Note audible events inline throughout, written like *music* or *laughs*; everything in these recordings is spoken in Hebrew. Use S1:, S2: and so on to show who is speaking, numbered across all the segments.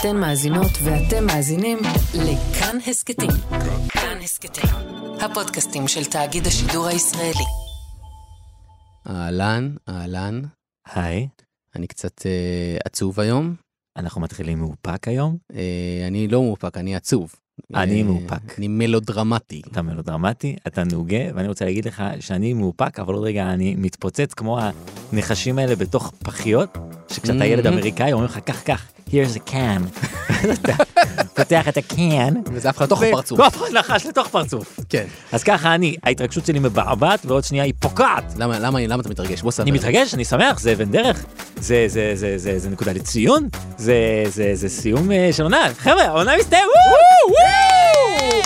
S1: אתן מאזינות ואתם מאזינים לכאן הסכתים. כאן הסכתים, הפודקאסטים של תאגיד השידור הישראלי.
S2: אהלן, אהלן,
S3: היי,
S2: אני קצת אה, עצוב היום.
S3: אנחנו מתחילים מאופק היום?
S2: אה, אני לא מאופק, אני עצוב. אה,
S3: אני מאופק.
S2: אני מלודרמטי.
S3: אתה מלודרמטי, אתה נוגה, ואני רוצה להגיד לך שאני מאופק, אבל עוד רגע אני מתפוצץ כמו הנחשים האלה בתוך פחיות, שכשאתה ילד
S2: Mhm.
S3: אמריקאי אומרים לך כך כך, here's a can. *laughs* אז אתה פותח את הקן.
S2: וזה אף אחד תוך
S3: ו-
S2: פרצוף.
S3: לא, אף אחד נחש לתוך פרצוף.
S2: כן.
S3: אז ככה אני, ההתרגשות שלי מבעבעת, ועוד שנייה היא פוקעת.
S2: למה, למה, למה אתה מתרגש? בוא ספר.
S3: אני מתרגש, אני שמח, זה אבן דרך, זה, זה, זה, זה, זה נקודה לציון, זה, זה, זה סיום אה, של עונה, חבר'ה, העונה מסתיים, וואו, וואו!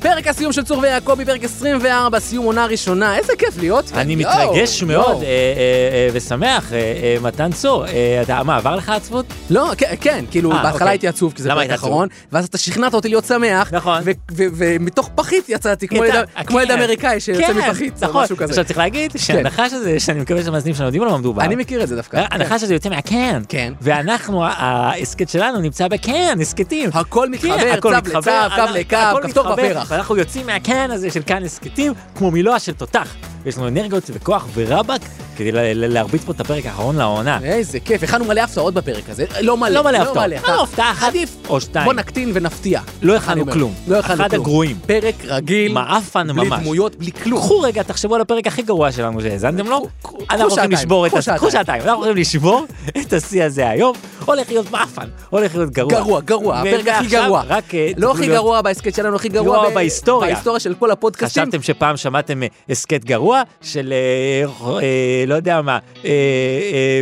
S2: פרק הסיום של צור ויעקבי, פרק 24, סיום עונה ראשונה. איזה כיף להיות. כאן.
S3: אני
S2: יואו,
S3: מתרגש
S2: יואו.
S3: מאוד אה, אה, אה, ושמח, אה, אה, מתן צור, אה, אתה, מה, עבר לך עצבות?
S2: לא, כן, כן, כאילו,
S3: אה,
S2: בהתחלה
S3: אוקיי.
S2: הייתי עצוב, כי זה
S3: למה
S2: פרק
S3: היית עצוב?
S2: אחרון, ואז אתה שכנעת אותי להיות שמח,
S3: נכון.
S2: ו- ו- ומתוך פחית יצאתי, כמו
S3: יצא,
S2: ילד- כמו ילד
S3: כן,
S2: אמריקאי שיוצא
S3: כן,
S2: מפחית, או
S3: נכון.
S2: משהו כזה. כן.
S3: עכשיו צריך להגיד שהנחש הזה, שאני מקווה שהמאזינים שלנו יודעים על מה מדובר,
S2: אני מכיר את זה דווקא.
S3: הנחש הזה יוצא מהקן,
S2: כן.
S3: ואנחנו, ה- ההסכת שלנו נמצא בקן, הסכתים. כן,
S2: הכל מתחבר,
S3: הכל
S2: צו
S3: מתחבר,
S2: לצו, קו
S3: אנחנו-
S2: לקו,
S3: הכל
S2: כפתור
S3: מתחבר,
S2: בפרח.
S3: ואנחנו יוצאים מהקן הזה של כאן הסכתים כמו מילואה של תותח. יש לנו אנרגיות וכוח ורבאק כדי ל- ל- להרביץ פה את הפרק האחרון לעונה.
S2: איזה כיף, הכנו מלא הפתעות בפרק הזה, אה, לא מלא,
S3: לא מלא הפתעות. לא, הפתעה אחת
S2: עדיף,
S3: או שתיים.
S2: בוא נקטין ונפתיע.
S3: לא
S2: אני
S3: הכנו
S2: אומר,
S3: כלום.
S2: לא הכנו כלום.
S3: אחד הגרועים.
S2: פרק רגיל,
S3: מעפן
S2: בלי
S3: ממש.
S2: דמויות, בלי כלום.
S3: קחו רגע, תחשבו על הפרק הכי גרוע שלנו שהאזנתם לו.
S2: קחו- קחו
S3: אנחנו הולכים
S2: שעתיים,
S3: לשבור את
S2: קחו
S3: השיא.
S2: שעתיים.
S3: קחו שעתיים. אנחנו הולכים לשבור את השיא הזה היום. הולך להיות מעפן. הולך להיות גרוע.
S2: גרוע, גרוע, הפרק הכי
S3: ועכשיו
S2: גרוע.
S3: רק... אה,
S2: לא
S3: תוכלו
S2: הכי
S3: להיות-
S2: גרוע בהסכת שלנו, הכי גרוע
S3: גרוע
S2: ב-
S3: בהיסטוריה.
S2: בהיסטוריה של כל הפודקאסטים.
S3: חשבתם שפעם שמעתם אה, הסכת גרוע של אה, אה, לא יודע מה, אה, אה,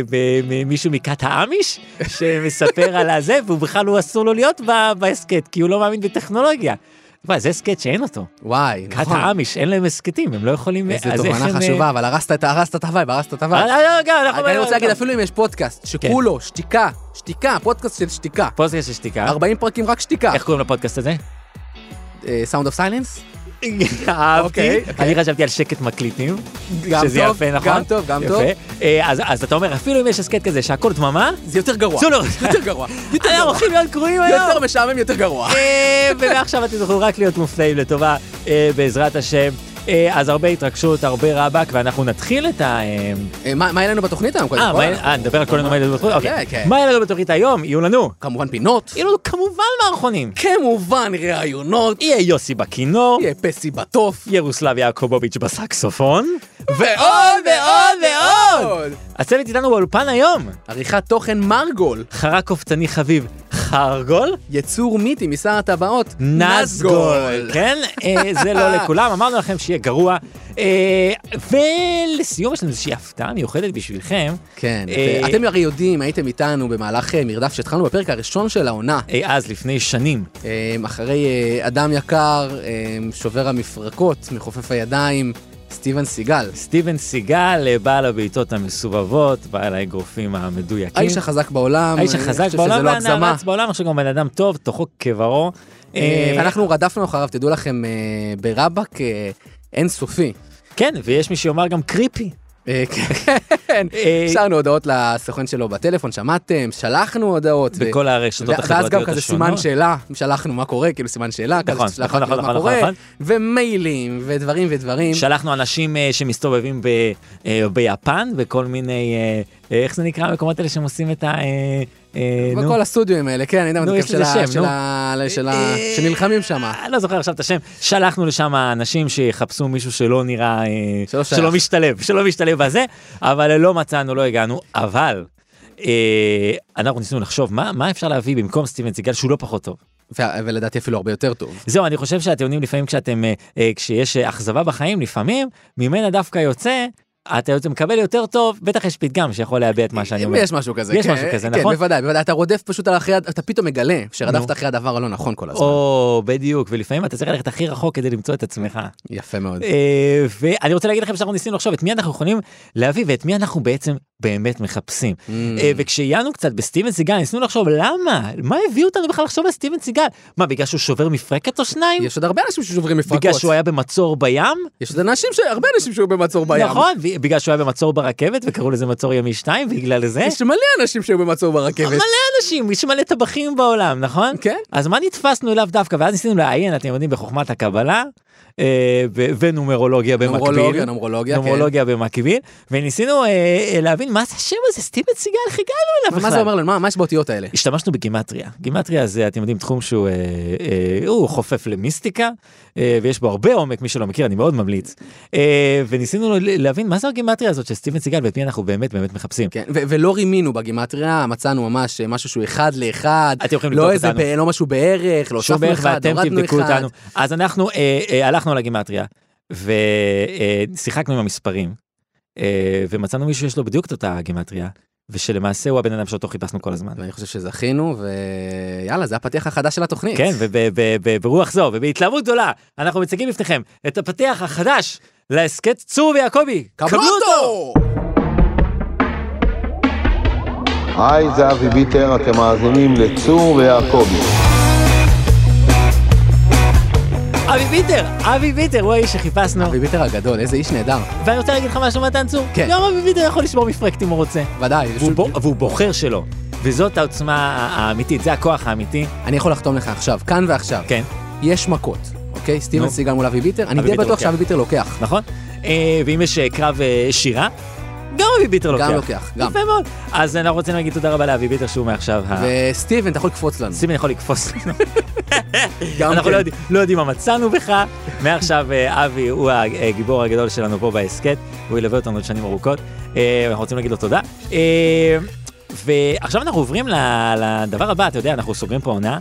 S3: ב- מ- מישהו מכת האמיש שמספר על הזה והוא בכלל הוא אסור לו להיות ב- בהסכת כי הוא לא מאמין בטכנולוגיה. וואי, זה הסכת שאין אותו.
S2: וואי,
S3: כת
S2: נכון.
S3: האמיש, אין להם הסכתים, הם לא יכולים...
S2: איזה
S3: אז איך
S2: תובנה
S3: הם, אה,
S2: חשובה, אבל הרסת את הרסת את הווייב, הרסת את
S3: אה,
S2: הווייב.
S3: לא, לא, גם, אנחנו... כן.
S2: אני רוצה להגיד, אפילו אם יש פודקאסט שכולו שתיקה, שתיקה, פודקאסט של שתיקה.
S3: פודקאסט של שתיקה.
S2: 40 פרקים רק שתיקה.
S3: אה?
S2: אה,
S3: איך קוראים לפודקאסט הזה?
S2: סאונד אוף סיילנס?
S3: אהבתי.
S2: אוקיי,
S3: אני חשבתי על שקט מקליטים.
S2: גם
S3: שזה
S2: טוב,
S3: יפה, נכון?
S2: גם טוב, גם טוב.
S3: יפה. אה, אז- אז אתה אומר, אפילו אם יש הסכת כזה שהכל דממה,
S2: זה יותר גרוע.
S3: צאו לו.
S2: יותר גרוע. יותר
S3: אנחנו
S2: גרוע.
S3: הולכים להיות גרועים היום.
S2: יותר משעמם, יותר גרוע.
S3: אה, ומעכשיו אתם תוכלו רק להיות מופתעים לטובה, אה, בעזרת השם. אה, אז הרבה התרגשות, הרבה רבאק, ואנחנו נתחיל את ה... אה,
S2: אה, מה מה היה לנו בתוכנית היום? קודם
S3: אה,
S2: כל?
S3: מה- אה, נדבר על כל מיני דברים בתוכנית?
S2: כן,
S3: אוקיי.
S2: כן.
S3: מה יהיה לנו בתוכנית היום? יהיו לנו.
S2: כמובן פינות.
S3: יהיו לנו כמובן מערכונים.
S2: כמובן ראיונות.
S3: יהיה יוסי בכינור,
S2: יהיה פסי בתוף.
S3: ירוסלב יעקובוביץ' בסקסופון.
S2: ועוד
S3: ועוד, ועוד. הצוות איתנו באולפן היום.
S2: עריכת תוכן מרגול.
S3: חרק קופצני חביב חרגול.
S2: יצור מיתי משר הטבעות.
S3: נזגול. כן, אה, זה
S2: *laughs*
S3: לא לכולם, אמרנו לכם שיהיה גרוע. אה, ולסיום יש לנו איזושהי הפתעה מיוחדת בשבילכם.
S2: כן,
S3: אה,
S2: אתם הרי יודעים, הייתם איתנו במהלך אה, מרדף שהתחלנו בפרק הראשון של העונה.
S3: אה, אז לפני שנים,
S2: אה, אחרי אה, אדם יקר, אה, שובר המפרקות, מחופף הידיים, סטיבן סיגל.
S3: סטיבן סיגל, אה, בעל הבעיטות המסובבות, בעל האגרופים המדויקים.
S2: האיש החזק בעולם.
S3: האיש
S2: אני
S3: החזק
S2: חושב שזה
S3: בעולם,
S2: לא הגזמה.
S3: והנערץ בעולם, עכשיו גם בן אדם טוב, תוכו כברו.
S2: אה,
S3: אה,
S2: ואנחנו רדפנו אחריו, תדעו לכם, אה, ברבאק אה, אינסופי.
S3: כן, ויש מי שיאמר גם קריפי.
S2: אה, *laughs* כן,
S3: אה,
S2: השארנו הודעות לסוכן שלו בטלפון, שמעתם, שלחנו הודעות. ו-
S3: בכל הרשתות
S2: ו- ואז גם
S3: החברתיות
S2: כזה סימן
S3: השונות.
S2: שאלה, שלחנו מה קורה, כאילו סימן שאלה, כזה
S3: נכון,
S2: שלחנו
S3: נכון,
S2: כאילו
S3: נכון,
S2: מה
S3: נכון,
S2: קורה,
S3: נכון.
S2: ומיילים, ודברים ודברים.
S3: שלחנו אנשים אה, שמסתובבים ב, אה, ביפן וכל מיני, אה, אה, איך זה נקרא המקומות האלה שהם עושים את ה... אה, אה, נו.
S2: בכל הסטודיו האלה, כן, אני יודע מה
S3: נו,
S2: זה
S3: יש
S2: כיף של
S3: לזה
S2: ה-
S3: שם,
S2: של
S3: נו.
S2: ה... של ה...
S3: אה,
S2: שנלחמים שם.
S3: אה, לא זוכר עכשיו את השם, שלחנו לשם אנשים שיחפשו מישהו שלא נראה, אה,
S2: שלא שייך.
S3: שלא משתלב, שלא משתלב בזה, אבל לא מצאנו, לא הגענו, אבל אה, אנחנו ניסינו לחשוב מה, מה אפשר להביא במקום סטיבן סיגל שהוא לא פחות טוב.
S2: ו- ולדעתי אפילו הרבה יותר טוב.
S3: זהו, אני חושב שהטיעונים לפעמים כשאתם, אה, אה, כשיש אה, אכזבה בחיים, לפעמים ממנה דווקא יוצא, אתה יוצא- מקבל יותר טוב, בטח יש פתגם שיכול להביע את מה שאני אומר.
S2: יש משהו כזה,
S3: יש
S2: כן,
S3: משהו כזה,
S2: כן,
S3: נכון?
S2: בוודאי, בוודאי, אתה רודף פשוט על אחרי, אתה פתאום מגלה שרדפת
S3: נו.
S2: אחרי הדבר הלא נכון כל הזמן.
S3: או, בדיוק, ולפעמים אתה צריך ללכת הכי רחוק כדי למצוא את עצמך.
S2: יפה מאוד.
S3: אה, ואני רוצה להגיד לכם שאנחנו ניסינו לחשוב את מי אנחנו יכולים להביא ואת מי אנחנו בעצם באמת מחפשים.
S2: Mm.
S3: אה, וכשעיינו קצת בסטיבן סיגל ניסינו לחשוב למה מה הביא אותנו בכלל לחשוב על סטיבן סיגל מה בגלל שהוא שובר מפרקת או שניים
S2: יש עוד הרבה אנשים ששוברים מפרקות.
S3: בגלל שהוא היה במצור בים
S2: יש עוד אנשים, ש- הרבה אנשים שהיו במצור בים.
S3: נכון ב- בגלל שהוא היה במצור ברכבת וקראו לזה מצור ימי שתיים בגלל זה
S2: יש מלא אנשים שהיו במצור ברכבת.
S3: מלא אנשים יש מלא טבחים בעולם נכון
S2: כן.
S3: אז מה נתפסנו אליו דווקא ואז ניסינו לעיין אתם יודעים בחוכמת הקבלה אה, ו- ונומרולוגיה במקביל
S2: נומרולוגיה, נומרולוגיה, כן.
S3: נומרולוגיה במקביל וניסינו אה, אה, להבין מה זה השם הזה סטיבן סיגל איך הגענו
S2: מה-
S3: אליו
S2: מה זה
S3: בכלל.
S2: אומר לנו? מה- מה יש באותיות האלה?
S3: השתמשנו בגימטריה. גימטריה זה, אתם יודעים, תחום שהוא אה, אה, הוא חופף למיסטיקה, אה, ויש בו הרבה עומק, מי שלא מכיר, אני מאוד ממליץ. אה, וניסינו ל- להבין מה זו הגימטריה הזאת של סטיבן סיגל ואת מי אנחנו באמת באמת מחפשים.
S2: כן, ו- ולא רימינו בגימטריה, מצאנו ממש אה, משהו שהוא אחד לאחד,
S3: אתם יכולים
S2: לא
S3: לבדוק
S2: איזה,
S3: אותנו.
S2: ב- לא משהו בערך, לא
S3: שום
S2: הוספנו
S3: בערך
S2: אחד,
S3: ואתם
S2: הורדנו
S3: תבדקו
S2: אחד.
S3: אותנו. אז אנחנו אה, אה, הלכנו על הגימטריה ושיחקנו עם המספרים, אה, ומצאנו מישהו שיש לו בדיוק את אותה גימטריה, ושלמעשה הוא הבן אדם שאותו חיפשנו כל הזמן.
S2: ואני חושב שזכינו, ויאללה, זה הפתיח החדש של *laughs* התוכנית.
S3: כן, וברוח זו ובהתלהבות גדולה, אנחנו מציגים בפניכם את הפתיח החדש להסכת צור ויעקבי.
S2: קבלו אותו!
S4: היי, זה אבי ביטר, אתם מאזינים לצור ויעקבי.
S3: אבי ביטר, אבי ביטר, הוא האיש שחיפשנו.
S2: אבי ביטר הגדול, איזה איש נהדר.
S3: ואני רוצה להגיד לך משהו, מתן צור.
S2: כן.
S3: גם אבי ביטר יכול לשבור מפרקט אם הוא רוצה.
S2: ודאי.
S3: והוא
S2: פשוט-
S3: בו- והוא בוחר שלא. וזאת העוצמה ה- האמיתית, זה הכוח האמיתי.
S2: אני יכול לחתום לך עכשיו, כאן ועכשיו.
S3: כן,
S2: יש מכות, אוקיי? סטיבן
S3: נו.
S2: סיגל מול אבי ביטר, אני
S3: אבי
S2: די
S3: ביטר
S2: בטוח
S3: לוקח.
S2: שאבי ביטר לוקח.
S3: נכון? אה, ואם יש אה, קרב אה, שירה, גם אבי ביטר לוקח.
S2: גם לוקח, גם.
S3: יפה מאוד. אז אנחנו רוצים להגיד תודה רבה לאבי ביטר שהוא מעכשיו ה...
S2: וסטיבן, אתה יכול לקפוץ לנו.
S3: סימן יכול לקפוץ לנו.
S2: גם
S3: אנחנו
S2: כן.
S3: לא יודעים- לא יודעים מה מצאנו בך. מעכשיו אה, אבי הוא הגיבור הגדול שלנו פה בהסכת, הוא ילווה אותנו עוד שנים ארוכות. אה, אנחנו רוצים להגיד לו תודה. אה, ועכשיו אנחנו עוברים ל- לדבר הבא, אתה יודע, אנחנו סוגרים פה עונה.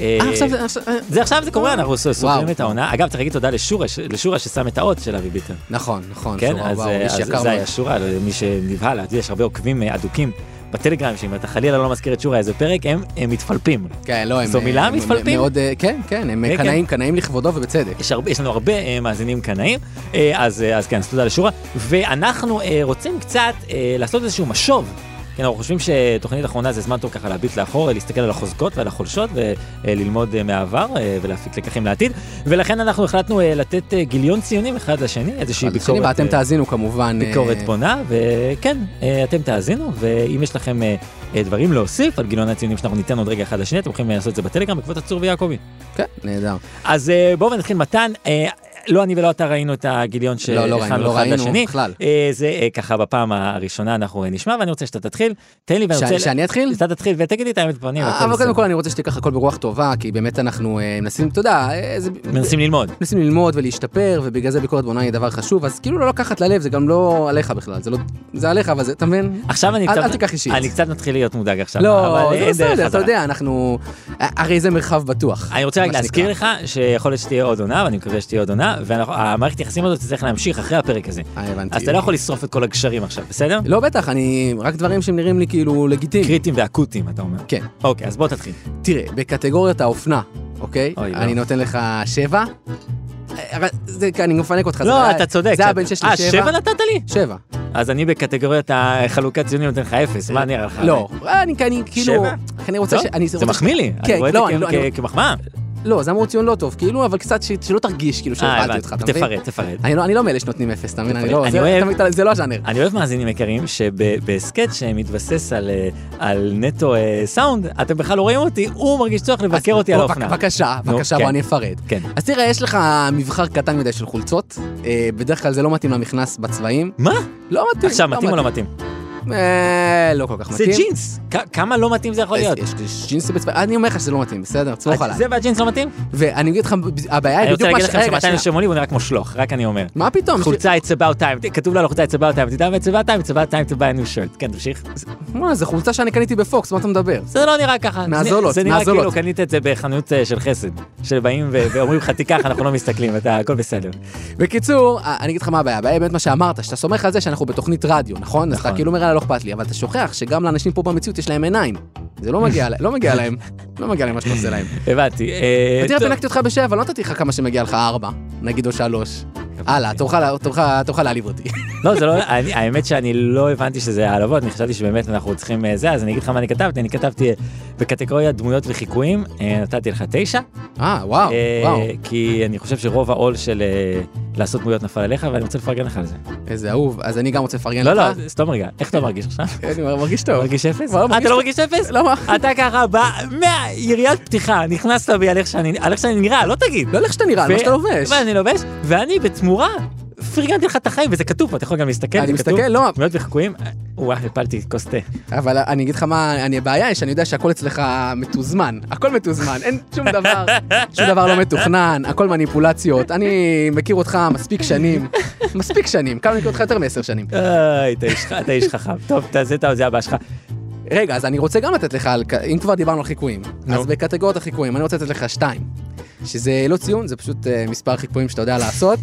S3: אה,
S2: אה, עכשיו זה... עכשיו- אה,
S3: זה עכשיו זה קורה, אנחנו סוגרים
S2: וואו.
S3: את העונה. אגב, צריך להגיד תודה לשורה, ש- לשורה ששם את האות של אבי ביטון.
S2: נכון, נכון.
S3: כן,
S2: שורה,
S3: אז
S2: וואו,
S3: אה,
S2: איש
S3: אז
S2: יקר
S3: זה
S2: מאוד.
S3: היה שורה, למי שנבהל, אתה יודע, יש הרבה עוקבים אה, אדוקים בטלגרם, שאם אתה חלילה לא מזכיר את שורה איזה פרק, הם הם מתפלפים.
S2: כן, לא, הם...
S3: זו מילה,
S2: הם- הם
S3: מתפלפים?
S2: מאוד, אה, כן, כן, הם
S3: כן, כן.
S2: קנאים, קנאים לכבודו ובצדק.
S3: יש, הרבה, יש לנו הרבה אה, מאזינים קנאים, אה, אז, אה, אז כן, אז תודה לשורה. ואנחנו אה, רוצים קצת אה, לעשות איזשהו משוב. כן, אנחנו חושבים שתוכנית אחרונה זה זמן טוב ככה להביט לאחור, אה, להסתכל על החוזקות ועל החולשות וללמוד מהעבר אה, ולהפיק לקחים לעתיד. ולכן אנחנו החלטנו אה, לתת אה, גיליון ציונים אחד לשני, איזושהי
S2: שני,
S3: ביקורת,
S2: ואתם
S3: אה,
S2: תאזינו כמובן. אה,
S3: ביקורת בונה, וכן, אה, אתם תאזינו, ואם יש לכם אה, אה, דברים להוסיף על גיליון הציונים שאנחנו ניתן עוד רגע אחד לשני, אתם יכולים אה, לעשות את זה בטלגרם בעקבות הצור ויעקבי.
S2: כן, נהדר.
S3: אז אה, בואו נתחיל מתן. אה, לא אני ולא אתה ראינו את הגיליון
S2: לא, לא ראינו,
S3: שהכנו
S2: לא
S3: אחד
S2: ראינו
S3: לשני.
S2: בכלל.
S3: אה, זה אה, ככה בפעם הראשונה אנחנו אה, נשמע, ואני רוצה שאתה תתחיל. תן לי ואני
S2: ש-
S3: רוצה...
S2: שאני אתחיל? אה,
S3: אתה תתחיל ותגיד לי את האמת בפנים. הכל
S2: אבל
S3: בסדר.
S2: קודם כל אני רוצה שתיקח הכל ברוח טובה, כי באמת אנחנו אה, מנסים, אתה יודע, אה, זה-
S3: מנסים ללמוד.
S2: מנסים ללמוד ולהשתפר, ובגלל זה ביקורת בונה היא דבר חשוב, אז כאילו לא לקחת ללב, זה גם לא עליך בכלל, זה לא, זה עליך, אבל זה, אתה מבין?
S3: עכשיו אני
S2: אל-
S3: קצת...
S2: אל תיקח אישית.
S3: אני קצת מתחיל להיות מודאג עכשיו.
S2: לא, זה
S3: אבל אין דרך
S2: בסדר, אתה
S3: חזרה.
S2: יודע, אנחנו... הרי זה מרחב בטוח.
S3: אני רוצה רק
S2: מה
S3: להזכיר
S2: שנקרא.
S3: לך שיכול להיות שתהיה עוד עונה, ואני מקווה שתהיה עוד עונה, והמערכת יחסים הזאת תצטרך להמשיך אחרי הפרק הזה.
S2: אה, הבנתי.
S3: אז אתה לא יכול לשרוף את כל הגשרים עכשיו, בסדר?
S2: לא, בטח, אני... רק דברים שנראים לי כאילו לגיטימיים.
S3: קריטיים ואקוטיים, אתה אומר.
S2: כן.
S3: אוקיי, אז בוא תתחיל.
S2: תראה, בקטגוריית האופנה, אוקיי?
S3: אוי, לא.
S2: אני נותן לך שבע. אה, אבל זה, אני מפנק אותך. זה
S3: לא,
S2: היה-
S3: אתה צודק.
S2: זה היה
S3: קצת.
S2: בין שש
S3: אה, שבע
S2: לשבע.
S3: נתת לי?
S2: שבע.
S3: אז אני בקטגוריית החלוקת ציונים נותן לך אפס, מה נראה לך?
S2: לא, אני אני כאילו...
S3: שבע?
S2: אני רוצה
S3: טוב,
S2: ש... אני
S3: זה
S2: רוצה-
S3: מחמיא לי, אני
S2: כן,
S3: רואה את
S2: לא, אני
S3: זה כאילו
S2: לא-
S3: כ-
S2: אני-
S3: כ- כמחמאה. אה,
S2: לא, זה אמור ציון לא טוב, כאילו, אבל קצת ש- שלא תרגיש כאילו
S3: אה,
S2: שהבלתי
S3: הבנתי,
S2: אותך, אתה מבין?
S3: תפרט, תפרט.
S2: אני לא- אני לא מאלה שנותנים אפס, אתה מבין? אני לא...
S3: אני
S2: זה-
S3: אוהב-
S2: אתה מבין, זה לא הז'אנר.
S3: אני אוהב מאזינים יקרים שבהסכת שמתבסס על, אה, על נטו אה, סאונד, אתם בכלל לא רואים אותי, הוא מרגיש צורך לבקר
S2: אז
S3: אותי על
S2: בוא,
S3: האופנה.
S2: בבקשה,
S3: נו,
S2: בבקשה,
S3: כן.
S2: בוא אני אפרט.
S3: כן.
S2: אז תראה, יש לך מבחר קטן מדי של חולצות, אה, בדרך כלל זה לא מתאים למכנס בצבעים.
S3: מה?
S2: לא מתאים.
S3: עכשיו מתאים או לא מתאים?
S2: אה, לא כל כך
S3: זה
S2: מתאים.
S3: ג'ינס, כ- כמה לא מתאים זה יכול
S2: אה,
S3: להיות?
S2: יש יש ג'ינס בצבעים, אני אומר לך שזה לא מתאים, בסדר? תסמוך עליי.
S3: זה והג'ינס לא מתאים?
S2: ואני אגיד לך, הבעיה
S3: אני
S2: היא
S3: רוצה
S2: בדיוק מה
S3: להגיד
S2: ש...
S3: לכם
S2: רגע,
S3: שמתן
S2: שנייה.
S3: יושב מולי והוא נראה כמו שלוח, רק אני אומר.
S2: מה פתאום?
S3: חולצה it's about time, כתוב לנו חולצה it's about time, תדע מה it's about time, it's about time to buy a new shirt. כן, תמשיך.
S2: מה, זו חולצה שאני קניתי בפוקס, מה אתה מדבר?
S3: זה לא נראה ככה.
S2: מהזולות,
S3: זה נראה
S2: מהזולות.
S3: כאילו קנית את זה בחנות אה, של חסד. שבאים ו- ואומרים לך תיקח, אנחנו לא מסתכלים, אתה הכל בסדר.
S2: בקיצור, אה, אני אגיד לך מה הבעיה, הבעיה היא באמת מה שאמרת, שאתה סומך על זה שאנחנו בתוכנית רדיו, נכון? אז אתה
S3: נכון.
S2: כאילו אומר, "יאללה, לא אכפת לי, אבל אתה שוכח שגם לאנשים פה במציאות יש להם עיניים. זה לא מגיע לה- לא מגיע להם, לא מגיע להם מה שאתה עושה להם.
S3: הבנתי. אה,
S2: תראה,
S3: טוב.
S2: לא פינקתי אותך בשבע, לא נתתי לך כמה שמגיע לך ארבע, נגיד או שלוש.
S3: הבנתי.
S2: הלאה, תורך לה- תורך- תורך להעליב
S3: *laughs*
S2: אותי.
S3: לא, זה לא, אני, האמת שאני לא הבנתי שזה העלבות, אני חשבתי שבאמת אנחנו צריכים אה, זה, אז אני אגיד לך מה אני כתבתי, אני כתבתי אה, בקטגוריה דמויות וחיקויים, אה, נתתי לך תשע,
S2: אה, וואו,
S3: אה,
S2: וואו,
S3: כי אני חושב שרוב העול של אה, לעשות דמויות נפל עליך, ואני רוצה לפרגן לך על זה.
S2: איזה אהוב. אז אני גם רוצה לפרגן
S3: לא,
S2: לך. כן.
S3: לא, סתום רגע, איך אתה מרגיש עכשיו?
S2: אני מרגיש טוב.
S3: מרגיש אפס?
S2: לא,
S3: אה,
S2: מרגיש
S3: אתה לא
S2: טוב.
S3: מרגיש אפס?
S2: למה?
S3: אתה ככה בא, מהיריית פתיחה, נכנסת בי על איך שאני על איך שאני נראה, לא תגיד.
S2: לא איך שאתה נראה, על מה שאתה לובש.
S3: מה אני לובש, ואני בתמורה פרגנתי לך את החיים, וזה כתוב פה, אתה יכול גם להסתכל,
S2: אני
S3: זה כתוב.
S2: מסתכל, לא,
S3: דמויות וחיקויים, אה, וואי, הפלתי כוס תה.
S2: אבל אני אגיד לך מה, אני הבעיה היא שאני יודע שהכל אצלך מתוזמן, הכל מתוזמן, אין שום דבר, שום דבר לא מתוכנן, הכל מניפולציות. אני מכיר אותך מספיק שנים, מספיק שנים, כמה אני מכיר אותך יותר מעשר שנים.
S3: איי, אתה איש- אתה איש חכם. טוב, תעשה את זה הבא שלך.
S2: רגע, אז אני רוצה גם לתת לך, על, אם כבר דיברנו על חיקויים,
S3: נו.
S2: אז בקטגוריית החיקויים, אני רוצה לתת לך שתיים. שזה לא ציון, זה פשוט אה, מספר חיקויים שאתה יודע לעשות,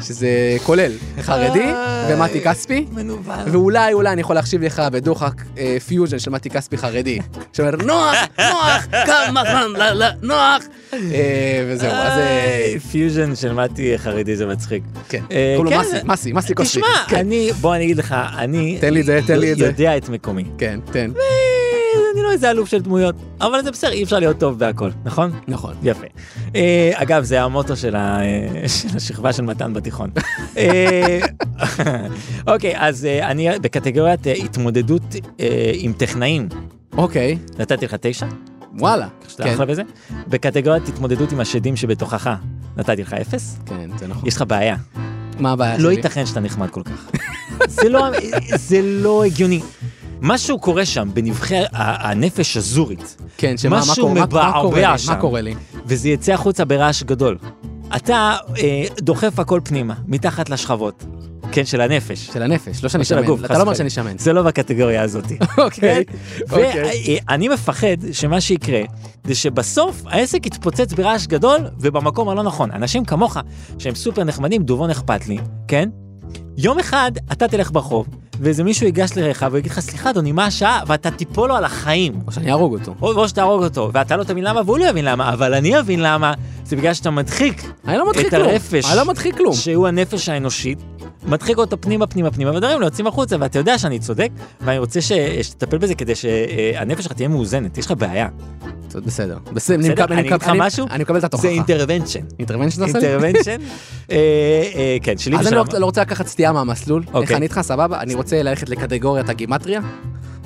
S2: שזה כולל חרדי
S3: איי.
S2: ומתי כספי.
S3: מנוול.
S2: ואולי, אולי אני יכול להחשיב לך בדוחק אה, פיוז'ן של מתי כספי חרדי. שאומר, נוח, נוח, כמה זמן, לא, לא, נוח. אה, וזהו, אז אה,
S3: פיוז'ן של מתי חרדי זה מצחיק.
S2: כן.
S3: אה,
S2: קוראים
S3: כן,
S2: לו מסי,
S3: זה-
S2: מסי, מסי קוסמי.
S3: תשמע, אני, בוא אני אגיד לך, אני
S2: כן. תן לי את זה, תן לי את זה.
S3: יודע את מקומי.
S2: כן, תן.
S3: אה, אני לא איזה אלוף של דמויות, אבל זה בסדר, אי אפשר להיות טוב בהכל, נכון?
S2: נכון.
S3: יפה. אה, אגב, זה המוטו של, ה, אה, של השכבה של מתן בתיכון. אה, אוקיי, אז אה, אני בקטגוריית אה, התמודדות אה, עם טכנאים,
S2: אוקיי,
S3: נתתי לך תשע,
S2: וואלה.
S3: כך שאתה
S2: כן,
S3: אחלה בזה. בקטגוריית התמודדות עם השדים שבתוכך, נתתי לך אפס.
S2: כן, זה נכון.
S3: יש לך בעיה,
S2: מה הבעיה שלי?
S3: לא ייתכן שאתה נחמד כל כך. זה, לא, זה לא הגיוני. משהו קורה שם בנבחי ה- הנפש הזורית.
S2: כן, שמה, מה
S3: משהו
S2: קורה? מה- מה
S3: מבעבע
S2: קורה לי?
S3: שם.
S2: מה קורה לי?
S3: וזה יצא החוצה ברעש גדול. אתה אה, דוחף הכל פנימה, מתחת לשכבות, כן, של הנפש.
S2: של הנפש, לא שאני
S3: לא של
S2: שמן.
S3: הגוף,
S2: אתה
S3: חס
S2: לא אומר שאני
S3: וחלילה.
S2: שמן.
S3: זה לא בקטגוריה הזאתי.
S2: *laughs*
S3: *laughs*
S2: אוקיי, אוקיי.
S3: ואני מפחד שמה שיקרה, זה שבסוף העסק יתפוצץ ברעש גדול ובמקום הלא נכון. אנשים כמוך, שהם סופר נחמדים, דובון אכפת לי, כן? יום אחד אתה תלך ברחוב, ואיזה מישהו ייגש לרעך ויגיד לך, סליחה אדוני, מה השעה? ואתה תיפול לו על החיים.
S2: או שאני אהרוג אותו.
S3: או, או שתהרוג אותו, ואתה לא תבין למה והוא לא יבין למה, אבל אני אבין למה, זה בגלל שאתה מדחיק
S2: אני לא מדחיק
S3: את
S2: כלום.
S3: הרפש.
S2: אני לא מדחיק כלום.
S3: שהוא הנפש האנושית, מדחיק אותו פנימה, פנימה, פנימה, ודברים לא יוצאים החוצה, ואתה יודע שאני צודק, ואני רוצה ש... שתטפל בזה כדי שהנפש שלך תהיה מאוזנת, יש לך בעיה.
S2: טוב, בסדר. בסדר, אני
S3: בסדר?
S2: מקבל-
S3: אני אגיד לך
S2: אני-
S3: משהו?
S2: אני מקבל את התוכחה.
S3: זה אינטרוונצ'ן.
S2: אינטרוונשן אתה עושה לי? *laughs*
S3: אינטרוונצ'ן? אה, אה, כן, שלי
S2: אז אני
S3: ושל...
S2: לא רוצה- לא רוצה לקחת סטייה מהמסלול. איך
S3: אוקיי.
S2: אני איתך, סבבה? אני רוצה ללכת לקטגוריית הגימטריה.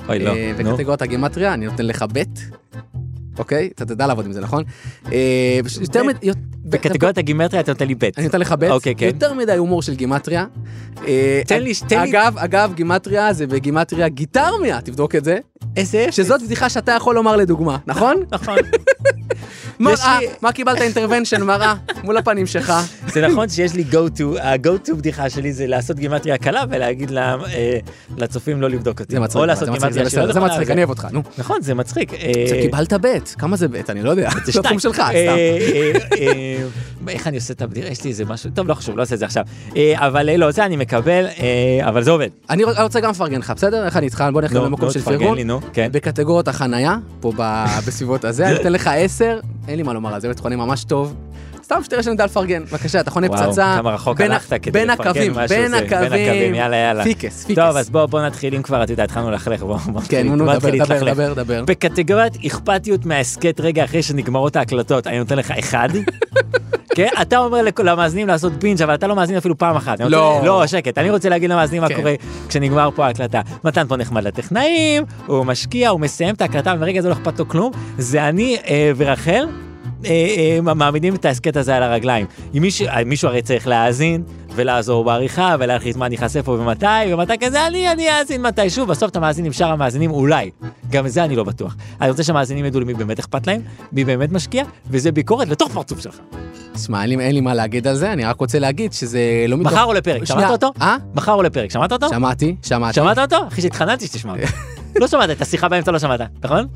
S3: אוי, לא,
S2: אה,
S3: נו.
S2: וקטגוריית הגימטריה, אני נותן לך ב', אוקיי? אתה תדע לעבוד עם זה, נכון? אה, פש- יותר
S3: ב'.
S2: מד- יות-
S3: בקטגוריית הגימטריה אתה נותן לי ב'.
S2: אני נותן לך ב',
S3: אוקיי, כן.
S2: יותר מדי הומור של גימטריה. אה,
S3: תן לי- תן לי-
S2: אגב, אגב, גימטריה זה בגימטריה גיטרמיה, תבדוק את זה.
S3: איזה אפס.
S2: שזאת בדיחה שאתה יכול לומר לדוגמה, נכון?
S3: נכון.
S2: מראה,
S3: לי-
S2: מה קיבלת אינטרוונשן מראה מול הפנים שלך.
S3: זה נכון שיש לי go to, ה-go to בדיחה שלי זה לעשות גימטריה קלה ולהגיד לה, אה, לצופים לא לבדוק אותי.
S2: זה מצחיק,
S3: או לעשות
S2: זה מצחיק, זה
S3: גימטריה שלא
S2: בסדר, זה
S3: נכונה,
S2: מצחיק,
S3: זה-
S2: אני אוהב אותך, נו.
S3: נכון, זה מצחיק. אה,
S2: עכשיו קיבלת ב', כמה זה ב', אני לא יודע,
S3: זה
S2: זה
S3: שתיים.
S2: התחום שלך,
S3: אה,
S2: סתם.
S3: אה, אה, אה, איך אני עושה את הבדיחה? יש לי איזה משהו, טוב, לא חשוב, לא עושה את זה עכשיו. אה, אבל אה, לא, זה אני מקבל, אה, אבל זה עובד.
S2: אני רוצ- אני רוצה גם לפרגן לך, בסדר? איך אני איתך? בוא נלך
S3: נו,
S2: למקום
S3: נו,
S2: של
S3: לא, תפרגן
S2: פרגון.
S3: לי, נו, כן.
S2: בקטגוריית החנייה, פה ב- *laughs* בסביבות הזה, אני אתן לך 10, אין לי מה לומר על זה, באמת חונה ממש טוב. סתם שתראה שאני יודע לפרגן. בבקשה, אתה חונה
S3: וואו,
S2: פצצה.
S3: כמה רחוק
S2: בין ה-
S3: הלכת כדי
S2: בין
S3: לפרגן
S2: הקווים,
S3: משהו,
S2: בין
S3: זה-
S2: הקווים.
S3: יאללה, יאללה.
S2: פיקס, פיקס.
S3: טוב, אז בואו בוא נתחיל, אם כבר, אתה יודע, התחלנו ללכלך, בואו בוא,
S2: כן,
S3: נתחיל-
S2: נו, דבר,
S3: בוא נתחיל
S2: דבר,
S3: להתלכלך.
S2: דבר, דבר.
S3: בקטגוריית אכפתיות מההסכת רגע אחרי שנגמרות ההקלטות, אני נותן לך
S2: *laughs*
S3: אחד. כן, אתה אומר לכל המאזינים לעשות בינג' אבל אתה לא מאזין אפילו פעם אחת. אני רוצה-
S2: לא.
S3: לא, שקט. אני רוצה להגיד למאזינים מה
S2: כן.
S3: קורה כשנגמר פה ההקלטה. מתן פה נחמד לטכנאים, הוא משקיע, הוא מסיים את ההקלטה, ומרגע זה לא אכפת לו כלום. זה אני אה, ורחל. אה, אה, מעמידים את ההסכת הזה על הרגליים. אם מישהו, אה, מישהו הרי צריך להאזין ולעזור בעריכה ולהחליט מה ניחשף פה ומתי ומתי כזה, אני אני אאזין מתישהו, בסוף אתה מאזין עם שאר המאזינים אולי. גם זה אני לא בטוח. אני רוצה שהמאזינים ידעו למי באמת אכפת להם, מי באמת משקיע, וזה ביקורת לתוך פרצוף שלך.
S2: שמע, אין לי- אין לי מה להגיד על זה, אני רק רוצה להגיד שזה לא מתוך...
S3: מחר עולה פרק,
S2: שנייה,
S3: שמעת אותו?
S2: אה?
S3: מחר עולה פרק, שמעת אותו?
S2: שמעתי, שמעתי.
S3: שמעת אותו? אחי שהתחננתי שתשמע אותו. לא שמעת את השיחה באמצע לא שמעת, נכון?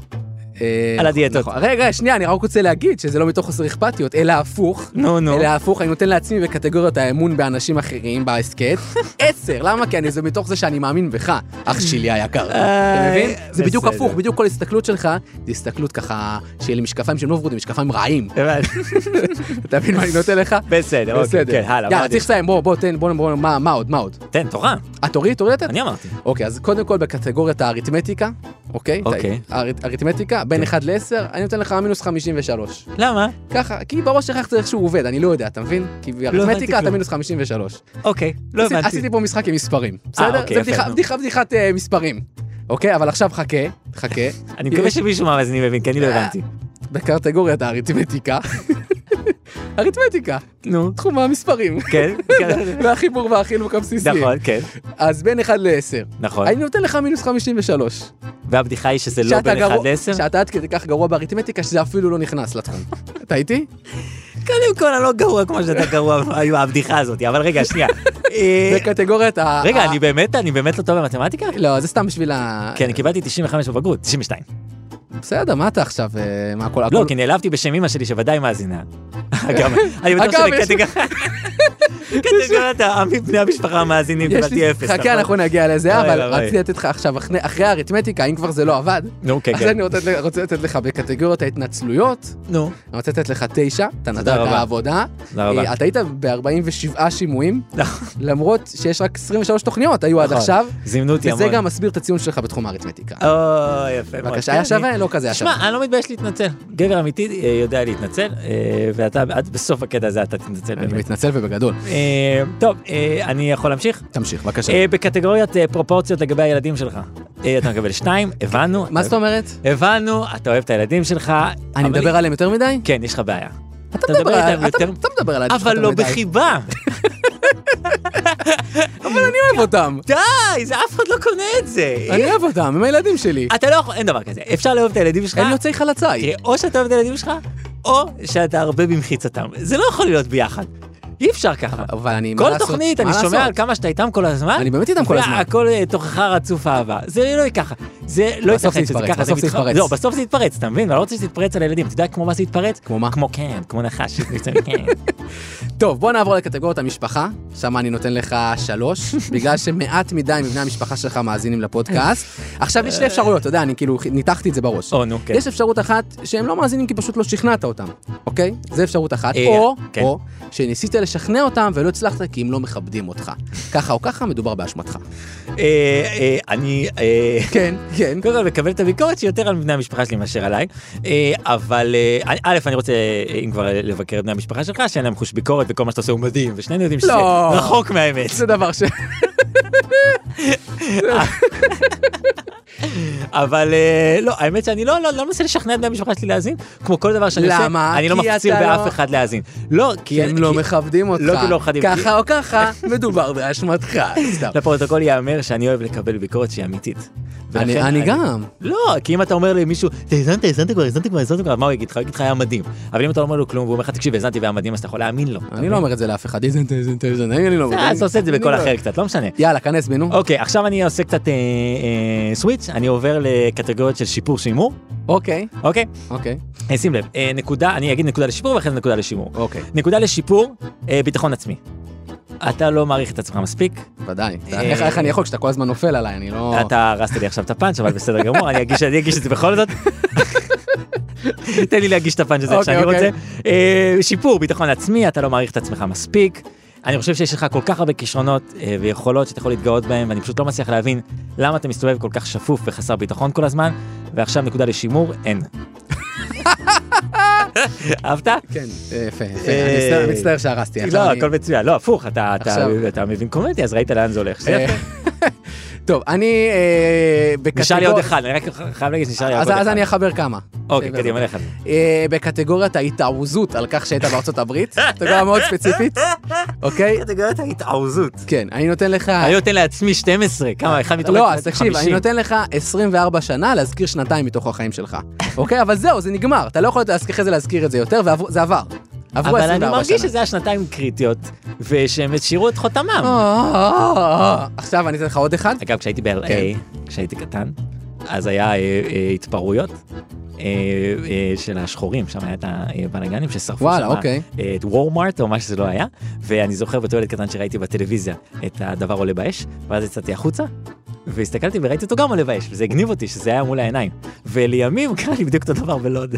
S2: אה,
S3: על הדיאטות.
S2: נכון. רגע, שנייה, אני רק רוצה להגיד שזה לא מתוך חוסר אכפתיות, אלא הפוך.
S3: נו, נו.
S2: אלא הפוך, אני נותן לעצמי בקטגוריית האמון באנשים אחרים
S3: *laughs*
S2: בהסכת. עשר, למה? כי אני, זה מתוך זה שאני מאמין בך, אח שלי היקר. אתה
S3: איי,
S2: מבין? זה בדיוק
S3: בסדר.
S2: הפוך, בדיוק כל הסתכלות שלך, זה הסתכלות ככה, שיהיה לי משקפיים שהם לא ורודים, משקפיים
S3: *laughs*
S2: רעים.
S3: הבנתי.
S2: אתה מבין מה אני נותן לך?
S3: בסדר, אוקיי, כן, הלאה. מה
S2: יאללה,
S3: עדיף?
S2: צריך לסיים, בוא, בוא, תן, בוא, בוא, מה מה עוד, מה עוד?
S3: תן, תורה.
S2: אה, תוריד, תוריד לתת?
S3: אני אמרתי.
S2: אוקיי, אז קודם כל בקטגוריית האריתמטיקה, אוקיי?
S3: אוקיי. כן.
S2: האריתמטיקה, בין 1 ל-10, אני נותן לך מינוס 53.
S3: למה?
S2: ככה, כי בראש שלך איך זה איכשהו עובד, אני לא יודע, אתה מבין? כי
S3: הבנתי
S2: באריתמטיקה אתה
S3: כלום.
S2: מינוס 53.
S3: אוקיי, לא
S2: עשי-
S3: הבנתי.
S2: עשיתי פה משחק עם מספרים, בסדר?
S3: אוקיי,
S2: זה
S3: יפה,
S2: בדיחה-
S3: נו.
S2: בדיחה בדיחת אה, מספרים. אוקיי, אבל עכשיו חכה, חכה.
S3: *laughs* אני מקווה שמישהו מהמאזינים מבין, כי אני לא
S2: אה.
S3: הבנתי.
S2: בקטגוריית האריתמטיקה. *laughs* אריתמטיקה,
S3: נו.
S2: תחום
S3: *laughs*
S2: המספרים.
S3: כן, *laughs* כן.
S2: והחיבור והחילוק הבסיסי.
S3: נכון, כן,
S2: אז בין 1 ל-10.
S3: נכון.
S2: אני נותן לך מינוס 53.
S3: והבדיחה היא שזה לא
S2: שאתה
S3: בין 1
S2: גרוע-
S3: ל-10?
S2: שאתה עד כדי כך גרוע באריתמטיקה שזה אפילו לא נכנס
S3: *laughs*
S2: לתחום. אתה איתי?
S3: קודם כל, אני לא גרוע כמו שאתה גרוע עם הבדיחה הזאת, אבל רגע, שנייה. אה,
S2: זה קטגוריית ה...
S3: רגע,
S2: ה-
S3: אני כן, באמת, אני באמת לא טוב במתמטיקה?
S2: לא, זה סתם בשביל ה...
S3: כי אני קיבלתי 95 בבגרות, 92.
S2: בסדר, מה אתה עכשיו? אה, מה הכל...
S3: לא,
S2: הכל-
S3: כי נעלבתי בשם אמא שלי שוודאי מאזינה. *laughs* אגב, אני בטוח
S2: אגב, יש-
S3: *laughs* שבקטגוריית בני המשפחה המאזינים
S2: יש לי-
S3: קיבלתי אפס.
S2: חכה,
S3: נכון?
S2: אנחנו נגיע לזה,
S3: אוי,
S2: אבל
S3: אוי, אוי.
S2: רציתי לתת לך עכשיו, אחרי- אחרי האריתמטיקה, אם כבר זה לא עבד,
S3: נו, כן,
S2: אז
S3: כן.
S2: אני אה, רוצה לתת- רוצה לתת לך בקטגוריית ההתנצלויות,
S3: נו,
S2: אני רוצה לתת לך תשע, אתה נתת
S3: רבה.
S2: עבודה.
S3: תודה רבה.
S2: אה, אתה היית ב-47 שימועים,
S3: נכון.
S2: למרות שיש רק 23 תוכניות היו עד
S3: נכון.
S2: עכשיו,
S3: זימנו אותי המון. אה,
S2: וזה גם מסביר את הציון שלך בתחום האריתמטיקה.
S3: *laughs* או, יפה מאוד.
S2: אה, בבקשה,
S3: כן,
S2: היה שווה?
S3: אני-
S2: לא כזה היה שווה.
S3: תשמע, אני לא מתבייש להתנצל. גבר אמיתי אה, יודע להתנצל, אה, ואתה, עד בסוף הקטע הזה אתה תתנצל
S2: אני
S3: באמת.
S2: מתנצל ובגדול.
S3: אה, טוב, אה, אני יכול להמשיך?
S2: תמשיך, בבקשה.
S3: אה, בקטגוריית אה, פרופורציות לגבי הילדים שלך. אה, אתה מקבל שניים, הבנו.
S2: מה זאת אומרת?
S3: הבנו, אתה אוהב את הילדים שלך.
S2: אני
S3: אבל-
S2: מדבר עליהם יותר מדי?
S3: כן, יש לך בעיה.
S2: אתה מדבר
S3: איתם
S2: עליהם יותר... אתה מדבר עליהם
S3: אבל
S2: יותר
S3: לא
S2: מדי. *laughs*
S3: בחיבה.
S2: אבל אני אוהב אותם.
S3: די, זה אף אחד לא קונה את זה.
S2: אני אוהב אותם, הם הילדים שלי.
S3: אתה לא יכול, אין דבר כזה. אפשר לאהוב את הילדים שלך.
S2: הם יוצאי חלציי.
S3: אה. תראה, או שאתה אוהב את הילדים שלך, או שאתה הרבה במחיצתם. זה לא יכול להיות ביחד. אי אפשר ככה.
S2: אבל אני, מה
S3: כל
S2: לעשות?
S3: תוכנית,
S2: מה
S3: אני
S2: לעשות?
S3: שומע על כמה שאתה איתם כל הזמן.
S2: אני באמת איתם כל הזמן.
S3: והכל אה, תוכחה רצוף אהבה. זה לא יהיה ככה. זה לא
S2: בסוף זה
S3: ייתכן שזה
S2: יתפרץ,
S3: ככה.
S2: בסוף זה
S3: מתח-
S2: יתפרץ.
S3: לא, בסוף זה יתפרץ, אתה מבין? אני לא רוצה שזה יתפרץ על הילדים. אתה יודע כמו מה זה יתפרץ?
S2: כמו מה?
S3: כמו כן,
S2: *laughs*
S3: כמו כן. נחש. יוצא מכן.
S2: טוב, בוא נעבור לקטגוריית המשפחה, שם אני נותן לך
S3: *laughs*
S2: שלוש, בגלל שמעט מדי מבני המשפחה שלך מאזינים
S3: *laughs*
S2: לפודקאסט. עכשיו יש שתי אפשרויות, אתה יודע, אני כאילו ניתחתי את זה בראש.
S3: או, נו, כן.
S2: יש אפשרות אחת שהם לא מאזינים כי פשוט לא שכנעת אותם, אוקיי? זה אפשרות אחת.
S3: אה,
S2: או,
S3: כן.
S2: או, שניסית לשכנע אותם ולא הצלחת כי הם לא מכבדים אותך. ככה או ככה מדובר באשמתך.
S3: אה, אה, אני... אה,
S2: כן, כן.
S3: *laughs* קודם כל מקבל את הביקורת שהיא יותר על בני המשפחה שלי מאשר עליי, אה, אבל אה, אני- א', אני רוצה, אה, אם כבר אה, לבקר את בני המשפחה שלך, שאין להם חוש ביקורת וכל מה שאתה עושה הוא מדהים, ושנינו יודעים שזה
S2: לא.
S3: רחוק מהאמת.
S2: *laughs* זה דבר ש...
S3: אבל אה, לא, האמת שאני לא, לא, לא מנסה לשכנע את בני המשפחה שלי להאזין, כמו כל דבר שאני
S2: למה?
S3: עושה, אני לא
S2: כי
S3: מפציר
S2: אתה לא-
S3: באף אחד להאזין. לא, כי...
S2: כי הם לא מכבדים אותך.
S3: לא כי לא מכבדים, כי- לא,
S2: ככה או ככה מדובר
S3: *laughs*
S2: באשמתך. סתם.
S3: לפרוטוקול ייאמר שאני אוהב לקבל ביקורת שהיא אמיתית. ולכן
S2: אני גם.
S3: לא, כי אם אתה אומר למישהו, האזנת, האזנת כבר, האזנת כבר, האזנת כבר, מה הוא יגיד לך? הוא יגיד לך, היה מדהים. אבל אם אתה לא אומר לו כלום, והוא אומר לך, תקשיב, האזנתי והיה מדהים, אז אתה יכול להאמין לו.
S2: אני לא אומר את זה לאף אחד. איזן, איזן, איזן, אני לא אומר.
S3: אה, אז אתה עושה את זה
S2: אני
S3: בקול
S2: לא-
S3: אחר קצת, לא משנה.
S2: יאללה, כנס בי, נו.
S3: אוקיי, עכשיו אני עושה קצת אה, אה, סוויץ', אני עובר לקטגוריות של שיפור שימור,
S2: אוקיי,
S3: אוקיי?
S2: אוקיי,
S3: אה, שים לב, אה, נקודה, אני אגיד נקודה לשיפור ואחרי זה נקודה לשימור.
S2: אוקיי.
S3: נקודה לשיפור, אה, ביטחון עצמי. אתה לא מעריך את עצמך מספיק,
S2: ודאי. אתה-
S3: אה,
S2: איך איך אני יכול כשאתה כל הזמן נופל עליי? אני לא...
S3: אתה הרסת לי עכשיו את הפאנץ', אבל בסדר גמור, אני אגיש אני אגיש את זה
S2: *laughs*
S3: בכל זאת. תן לי להגיש את הפאנץ' הזה איך
S2: אוקיי,
S3: שאני רוצה.
S2: אוקיי.
S3: אה, שיפור, ביטחון עצמי, אתה לא מעריך את עצמך מספיק. אני חושב שיש לך כל כך הרבה כישרונות אה, ויכולות שאתה יכול להתגאות בהן, ואני פשוט לא מצליח להבין למה אתה מסתובב כל כך שפוף וחסר ביטחון כל הזמן, ועכשיו נקודה לשימור,
S2: *laughs*
S3: אין. אהבת?
S2: כן, אה, יפה, יפה.
S3: אה,
S2: אני מצטער- מצטער שהרסתי. עכשיו
S3: לא,
S2: אני-
S3: הכל מצוין, לא, הפוך, אתה- אתה-
S2: עכשיו-
S3: אתה מבין קומדיה, אז ראית לאן זה הולך. זה
S2: אה, *laughs*
S3: יפה.
S2: טוב, אני אה, בקטגור...
S3: נשאר לי עוד אחד, אני רק חייב להגיד שנשאר לי רק עוד
S2: אז-
S3: אחד.
S2: אז אני אחבר כמה.
S3: אוקיי,
S2: בסדר.
S3: קדימה, לך.
S2: אה, בקטגוריית ההתערוזות על כך שהיית בארצות הברית, קטגוריה מאוד
S3: *laughs*
S2: ספציפית, אוקיי?
S3: קטגוריית ההתערוזות.
S2: כן, אני נותן לך...
S3: אני נותן לעצמי 12, כמה, אחד מתוך
S2: לא,
S3: ה-
S2: אז תקשיב,
S3: 50.
S2: אני נותן לך 24 שנה להזכיר שנתיים מתוך החיים שלך. אוקיי? אבל זהו, זה נגמר. אתה לא יכול להזכיר- אחרי זה להזכיר את זה יותר, וזה עבר. עברו
S3: אבל אני
S2: 24
S3: מרגיש
S2: שנה.
S3: שזה היה שנתיים קריטיות, ושהם השאירו את חותמם.
S2: אה, אה, אה, אה. עכשיו אני אתן לך עוד אחד. אוקיי.
S3: אגב, כשהייתי ב-LA,
S2: כן.
S3: כשהייתי קטן, אז היה אה, אה, התפרעויות, אה, אה, של השחורים, שם היה את הבלאגנים ששרפו
S2: וואלה,
S3: שם,
S2: אוקיי.
S3: אה, את וורמארט או מה שזה לא היה, ואני זוכר בתור ילד קטן שראיתי בטלוויזיה את הדבר עולה באש, ואז יצאתי החוצה. והסתכלתי וראיתי אותו גם עולה באש, וזה הגניב אותי שזה היה מול העיניים. ולימים *laughs* קרה לי בדיוק אותו דבר בלוד.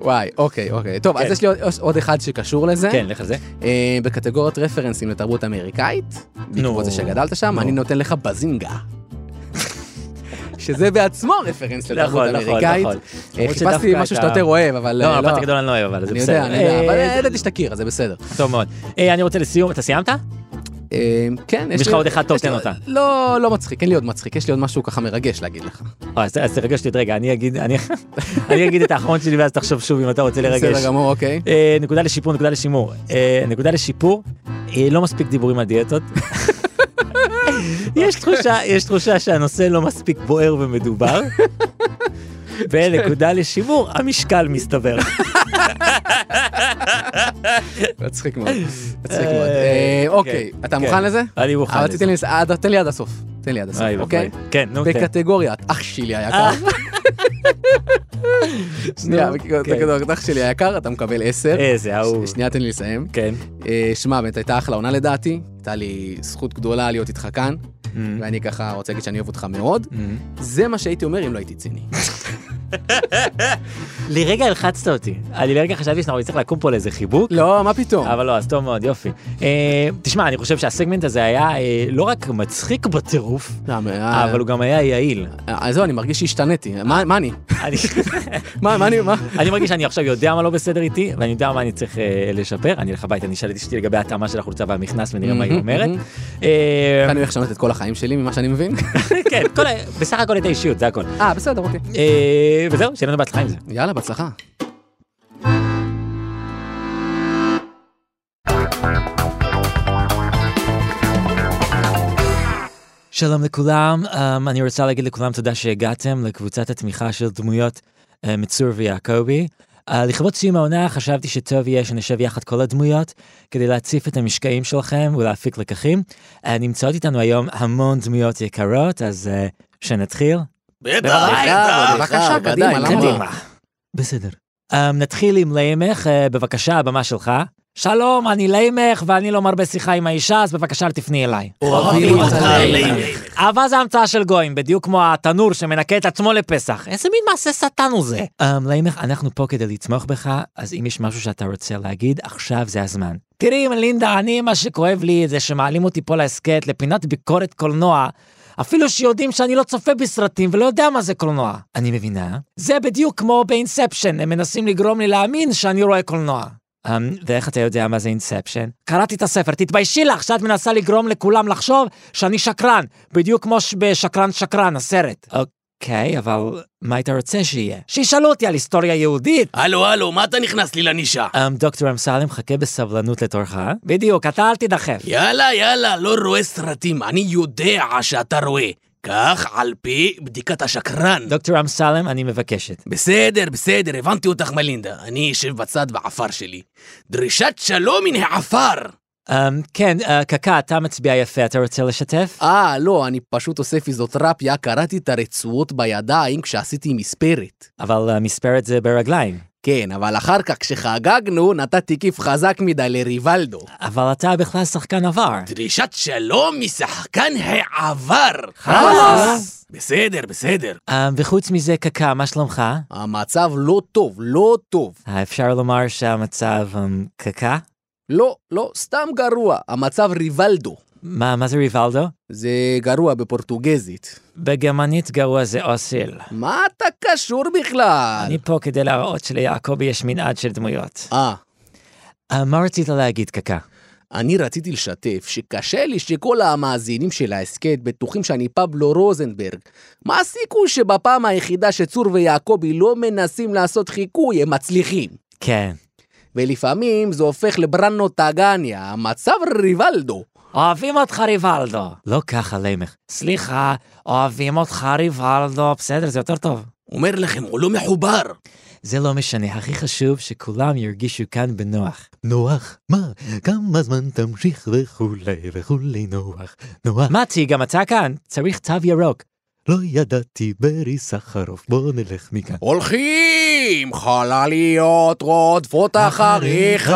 S2: וואי, אוקיי, אוקיי. טוב, אז
S3: כן.
S2: יש לי עוד- עוד אחד שקשור לזה.
S3: כן, לך על זה.
S2: אה, בקטגוריית רפרנסים לתרבות אמריקאית, בעקבות זה שגדלת שם,
S3: נו.
S2: אני נותן לך בזינגה. שזה בעצמו רפרנס לתרבות
S3: נכון, נכון,
S2: אמריקאית.
S3: נכון.
S2: אה,
S3: למרות
S2: חיפשתי
S3: שדווקא
S2: משהו
S3: את
S2: שאתה
S3: ה-
S2: יותר אוהב, אבל
S3: לא,
S2: אה,
S3: מבט גדול אני לא אוהב, אבל זה
S2: אני
S3: בסדר.
S2: יודע, אני יודע,
S3: אה,
S2: אבל
S3: זה-
S2: ידעתי שתכיר, אז זה בסדר.
S3: טוב מאוד. אה, אני רוצה לסיום, אתה סיימת?
S2: אה, כן, יש
S3: יש לך עוד אחד, טוב,
S2: יש לי
S3: תן
S2: עוד-
S3: אותה.
S2: לא, לא מצחיק, אין לי עוד מצחיק, יש לי עוד משהו ככה מרגש להגיד לך.
S3: אה, אז אז תרגש אותי, רגע, אני אגיד אני- *laughs* אני אגיד את האחרון שלי ואז תחשוב שוב אם אתה רוצה לרגש.
S2: בסדר גמור,
S3: *laughs*
S2: אוקיי.
S3: אה, נקודה לשיפור, נקודה לשימור. אה, נקודה לשיפור, אה, לא מספיק דיבורים על
S2: *laughs*
S3: דיאטות. יש תחושה, יש תחושה שהנושא לא מספיק בוער
S2: *laughs*
S3: ומדובר. ונקודה לשימור, המשקל מסתבר.
S2: מצחיק מאוד, מצחיק
S3: אה,
S2: מאוד. אה, אוקיי,
S3: כן,
S2: אתה
S3: כן.
S2: מוכן לזה? אה,
S3: אני מוכן
S2: אבל
S3: לזה.
S2: תיתן לי לס- עד- תן לי עד הסוף, תן לי עד הסוף,
S3: אוי
S2: אוקיי?
S3: ואבוי. כן, נו, כן.
S2: בקטגוריית אח שלי היקר. *laughs* שנייה,
S3: אה. נו, כן.
S2: בקטגוריית אח שלי היקר, אתה מקבל 10.
S3: איזה אהוב.
S2: כן. שנייה, תן לי לסיים.
S3: אה, כן.
S2: אה, שמע, באמת הייתה אחלה עונה לדעתי, הייתה לי זכות גדולה להיות איתך כאן,
S3: Mm-hmm. Mm.
S2: ואני ככה רוצה להגיד שאני אוהב אותך מאוד. זה מה שהייתי אומר אם לא הייתי ציני.
S3: לרגע הלחצת אותי. אני לרגע חשבתי שאנחנו נצטרך לקום פה לאיזה חיבוק.
S2: לא, מה פתאום?
S3: אבל לא, אז טוב מאוד, יופי. אה, תשמע, אני חושב שהסגמנט הזה היה אה, לא רק מצחיק בטירוף,
S2: לא, מה-
S3: אבל הוא גם היה יעיל.
S2: אה, זהו, אני מרגיש שהשתניתי. מה מה אני?
S3: אני-
S2: מה מה אני? מה?
S5: כן.
S3: אני מרגיש שאני עכשיו יודע מה לא בסדר איתי, ואני יודע מה אני צריך אה, לשפר. אני אלך הביתה, אני אשאל את אשתי לגבי ההתאמה של החולצה והמכנס ונראה מה היא
S2: מהמם,
S3: אומרת.
S2: מהמם.
S3: אה,
S2: אני הולך לשנות את כל החיים שלי ממה שאני
S5: *laughs*
S2: מבין?
S3: כן, כל ה- בסך הכל את האישיות, זה הכל.
S2: אה, בסדר, אוקיי.
S3: אה, וזהו, שיהיה לנו בהצלחה עם זה.
S2: יאללה, בהצלחה.
S3: שלום לכולם, um, אני רוצה להגיד לכולם תודה שהגעתם לקבוצת התמיכה של דמויות uh, מצור ויעקבי. Uh, לכבוד סיום העונה חשבתי שטוב יהיה שנשב יחד כל הדמויות כדי להציף את המשקעים שלכם ולהפיק לקחים. Uh, נמצאות איתנו היום המון דמויות יקרות, אז uh, שנתחיל.
S2: בבקשה, קדימה, למה?
S3: בסדר. Um, נתחיל עם לימך, uh, בבקשה, הבמה שלך. שלום, אני לימך ואני לא מרבה שיחה עם האישה, אז בבקשה אל תפני אליי.
S2: אוהבים אותך
S3: אהבה זה המצאה של גויים, בדיוק כמו התנור שמנקה את עצמו לפסח. איזה מין מעשה שטן הוא זה? אמ, לימך, אנחנו פה כדי לתמוך בך, אז אם יש משהו שאתה רוצה להגיד, עכשיו זה הזמן. תראי, לינדה, אני, מה שכואב לי זה שמעלים אותי פה להסכת, לפינת ביקורת קולנוע. אפילו שיודעים שאני לא צופה בסרטים ולא יודע מה זה קולנוע. אני מבינה. זה בדיוק כמו באינספשן, הם מנסים לגרום לי להאמין שאני רואה קולנוע. Um, ואיך אתה יודע מה זה אינספשן? קראתי את הספר, תתביישי לך שאת מנסה לגרום לכולם לחשוב שאני שקרן, בדיוק כמו בשקרן שקרן, הסרט. אוקיי, אבל מה היית רוצה שיהיה? שישאלו אותי על היסטוריה יהודית.
S5: הלו, הלו, מה אתה נכנס לי לנישה?
S3: Um, דוקטור אמסלם, חכה בסבלנות לתורך. אה? בדיוק, אתה אל תידחף.
S5: יאללה, יאללה, לא רואה סרטים, אני יודע שאתה רואה. כך על פי בדיקת השקרן.
S3: דוקטור אמסלם, אני מבקשת.
S5: בסדר, בסדר, הבנתי אותך, מלינדה. אני אשב בצד בעפר שלי. דרישת שלום מן העפר!
S3: Um, כן, uh, קקה, אתה מצביע יפה, אתה רוצה לשתף?
S2: אה, לא, אני פשוט עושה פיזיותרפיה, קראתי את הרצועות בידיים כשעשיתי מספרת.
S3: אבל uh, מספרת זה ברגליים.
S2: כן, אבל אחר כך כשחגגנו, נתתי כיף חזק מדי לריבלדו.
S3: אבל אתה בכלל שחקן עבר.
S5: דרישת שלום משחקן העבר!
S3: חלאס.
S5: בסדר, בסדר.
S3: Um, וחוץ מזה, קקה, מה שלומך?
S2: המצב לא טוב, לא טוב.
S3: אה, אפשר לומר שהמצב אמ, קקה?
S2: לא, לא, סתם גרוע. המצב ריבלדו.
S3: מה, מה זה ריבלדו?
S2: זה גרוע בפורטוגזית.
S3: בגרמנית גרוע זה אוסיל.
S2: מה אתה קשור בכלל?
S3: אני פה כדי להראות שליעקבי יש מנעד של דמויות.
S2: אה,
S3: אה, מה רצית להגיד, קקה?
S2: אני רציתי לשתף שקשה לי שכל המאזינים של ההסכת בטוחים שאני פבלו רוזנברג. מה הסיכוי שבפעם היחידה שצור ויעקבי לא מנסים לעשות חיקוי, הם מצליחים?
S3: כן.
S2: ולפעמים זה הופך לברנו טגניה, המצב ריבלדו.
S3: אוהבים אותך ריבלדו. לא ככה, לימך. סליחה, אוהבים אותך ריבלדו. בסדר, זה יותר טוב.
S5: אומר לכם, הוא לא מחובר.
S3: זה לא משנה, הכי חשוב שכולם ירגישו כאן בנוח.
S6: נוח, מה, כמה זמן תמשיך וכולי וכולי נוח, נוח.
S3: מתי, גם אתה כאן? צריך תו ירוק.
S6: לא ידעתי ברי סחרוף, בוא נלך מכאן.
S2: הולכים חלליות רודפות
S6: אחריך,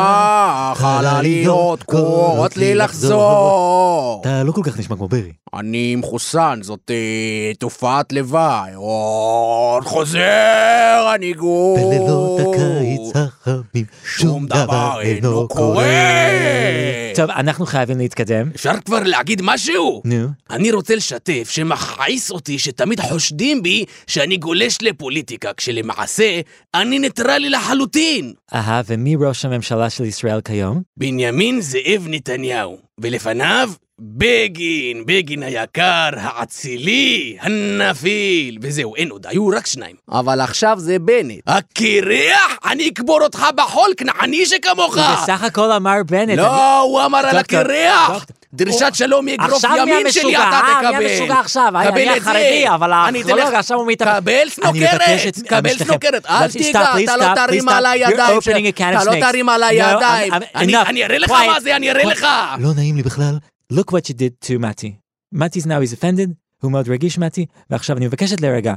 S6: חלליות קוראות לי לחזור. אתה לא כל כך נשמע כמו ברי.
S2: אני מחוסן, זאת אה, תופעת לוואי. עוד חוזר הניגוד.
S6: בלילות הקיץ החמים, שום דבר אינו קורה.
S2: אה.
S3: טוב, אנחנו חייבים להתקדם.
S2: אפשר כבר להגיד משהו?
S6: נו,
S2: אני רוצה לשתף שמכעיס אותי שתמיד חושדים בי שאני גולש לפוליטיקה, כשלמעשה אני ניטרלי לחלוטין.
S3: אהה, ומי ראש הממשלה של ישראל כיום?
S2: בנימין זאב נתניהו, ולפניו בגין, בגין היקר, האצילי, הנפיל, וזהו, אין עוד, היו רק שניים.
S7: אבל עכשיו זה בנט.
S2: הקירח, אני אקבור אותך בחול, כנעני שכמוך!
S3: הוא בסך הכל אמר בנט. אני-
S2: אה! לא, הוא אמר על
S3: דוקטור,
S2: הקירח!
S3: דוקטור.
S2: דרישת
S3: הוא-
S2: שלום מאגרוף
S3: עכשיו מי
S2: ימין שלי
S3: המשוגע?
S2: אתה
S3: אה, מי
S2: תקבל.
S3: המשוגע עכשיו? אני-
S2: קבל
S3: אני
S2: את זה.
S3: החרדי, אבל
S2: אני אתן
S3: הארכיאולוג
S2: לך-
S3: עכשיו הוא מתהפך.
S2: קבל
S3: אני מבקש
S2: סנוקרת,
S3: את- אה, אני
S2: קבל
S3: משתחרר.
S2: סנוקרת, אל
S3: Stop,
S2: תיגע,
S3: please
S2: אתה לא
S3: stop,
S2: תרים
S3: please
S2: על
S3: stop.
S2: הידיים
S3: You're opening a can of
S2: אתה לא
S3: snakes.
S2: תרים על
S3: No,
S2: הידיים.
S3: I'm- I'm-
S2: אני
S3: enough.
S2: אני אראה לך
S3: Quiet.
S2: מה זה, אני אראה
S3: What?
S2: לך.
S6: לא נעים לי בכלל.
S3: Look what you did to מתי. מתי is now is offended, הוא מאוד רגיש מתי, ועכשיו אני מבקשת להירגע.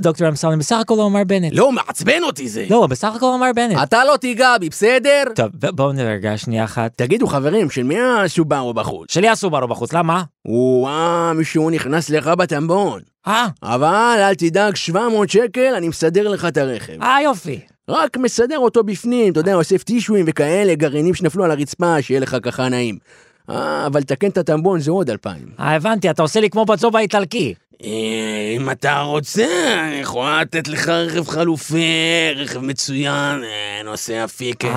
S3: דוקטור אמסלם בסך הכל לא אמר בנט.
S2: לא, אה, מעצבן אותי זה.
S3: לא, הוא בסך הכל אמר בנט.
S7: אתה לא תיגע בי, בסדר?
S3: טוב, ב- בואו נרגע שנייה אחת.
S2: תגידו חברים, של מי הסובארו בחוץ?
S3: שלי הסוברו בחוץ, למה?
S2: וואה, מישהו נכנס לך בטמבון.
S3: אה,
S2: אבל אל תדאג, 700 שקל, אני מסדר לך את הרכב.
S3: אה יופי.
S2: רק מסדר אותו בפנים, אתה יודע, אוסף טישויים וכאלה, גרעינים שנפלו על הרצפה, שיהיה לך ככה נעים. אה, אבל תקן את הטמבון, זה עוד אלפיים.
S3: אה, הבנתי, אתה עושה לי כמו בצוב האיטלקי.
S2: אה, אם אתה רוצה, אני יכולה לתת לך רכב חלופי, רכב מצוין, אה, נוסע
S3: אה.
S2: פיקס.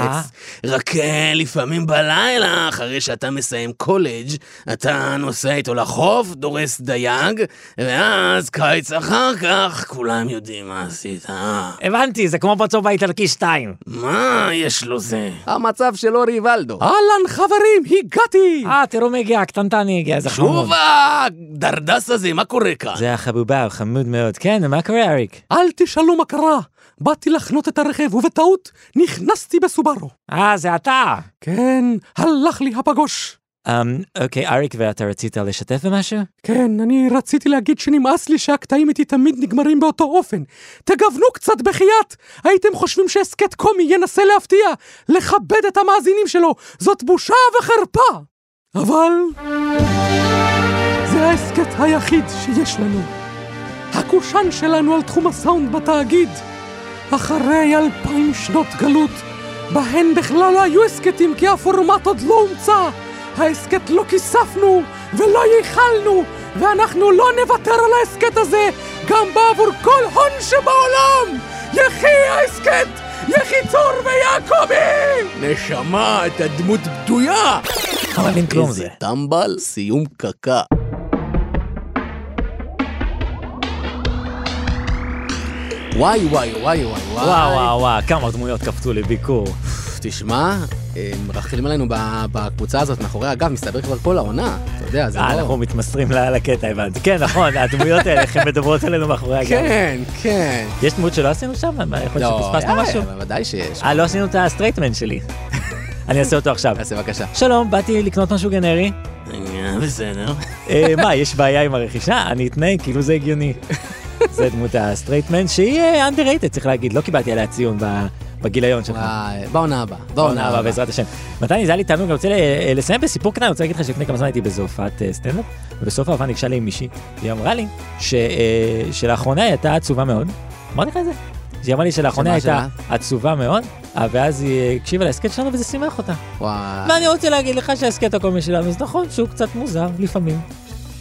S2: רק אה, לפעמים בלילה, אחרי שאתה מסיים קולג', אתה נוסע איתו לחוף, דורס דייג, ואז קיץ אחר כך, כולם יודעים מה עשית. אה.
S3: הבנתי, זה כמו בצוב האיטלקי 2.
S2: מה יש לו זה? אה,
S7: המצב שלו ריבלדו. אהלן, חברים, הגעתי!
S3: אה, תראו מי הגיע, הקטנטני הגיע, איזה חמוד.
S2: שוב הדרדס הזה, מה קורה כאן?
S3: זה החבובה, הוא חמוד מאוד. כן, מה קורה, אריק?
S7: אל תשאלו מה קרה. באתי לחנות את הרכב, ובטעות נכנסתי בסובארו.
S3: אה, זה אתה.
S7: כן, הלך לי הפגוש.
S3: אמ, אוקיי, אריק, ואתה רצית לשתף במשהו?
S7: כן, אני רציתי להגיד שנמאס לי שהקטעים איתי תמיד נגמרים באותו אופן. תגוונו קצת בחייאת! הייתם חושבים שהסכת קומי ינסה להפתיע, לכבד את המאזינים שלו, זאת בושה וחרפה! אבל... זה ההסכת היחיד שיש לנו. הקושאן שלנו על תחום הסאונד בתאגיד. אחרי אלפיים שנות גלות, בהן בכלל לא היו הסכתים כי הפורמט עוד לא הומצא. ההסכת לא כיספנו ולא ייחלנו, ואנחנו לא נוותר על ההסכת הזה, גם בעבור כל הון שבעולם! יחי ההסכת! יחי צור ויעקבי!
S2: נשמה, אתה דמות בדויה!
S3: אבל אין כלום זה.
S2: טמבל, סיום קקה.
S7: וואי וואי וואי וואי
S3: וואו, וואו, וואו, כמה דמויות קפצו לביקור.
S7: תשמע, מרחלים עלינו בקבוצה הזאת מאחורי הגב, מסתבר כבר כל העונה, אתה יודע, זה לא-
S3: אה, אנחנו מתמסרים ל- לקטע, הבנתי. כן,
S7: *laughs*
S3: נכון, הדמויות האלה, איך הן מדברות עלינו מאחורי הגב.
S7: כן, כן.
S3: יש דמות שלא עשינו שם? מה, יכול להיות שפספסנו
S7: אה,
S3: משהו?
S7: בוודאי שיש.
S3: אה, לא עשינו את הסטרייטמן שלי.
S7: *laughs*
S3: אני אעשה אותו עכשיו.
S7: אז בבקשה.
S3: שלום, באתי לקנות משהו גנרי.
S2: בסדר.
S7: *laughs*
S3: אה, מה, יש בעיה עם הרכישה? אני אתנהג כאילו זה הגיוני. זה דמות הסטרייטמן שהיא אה, underrated, צריך להגיד, לא קיבלתי עליה ציון ב- בגיליון שלך.
S7: וואי, בעונה הבאה.
S3: בעונה הבאה, בעזרת השם. מתני, זה היה לי תענוג, אני רוצה ל- אה, לסיים בסיפור קטן, אני רוצה להגיד לך שלפני כמה זמן הייתי באיזו הופעת אה, סטנדאפ, ובסוף ההופעה ניגשה לי מישהי, והיא אמרה לי ש- אה, שלאחרונה היא הייתה עצובה מאוד. אמרתי לך את זה? היא אמרה לי שלאחרונה
S7: שמה,
S3: הייתה עצובה מאוד, אה, ואז היא אה, הקשיבה להסכת שלנו וזה שימח אותה.
S7: אה. וואי.
S3: ואני רוצה להגיד לך שההסכת הקומי שלנו, זה נכון שהוא קצת מוזר לפעמים,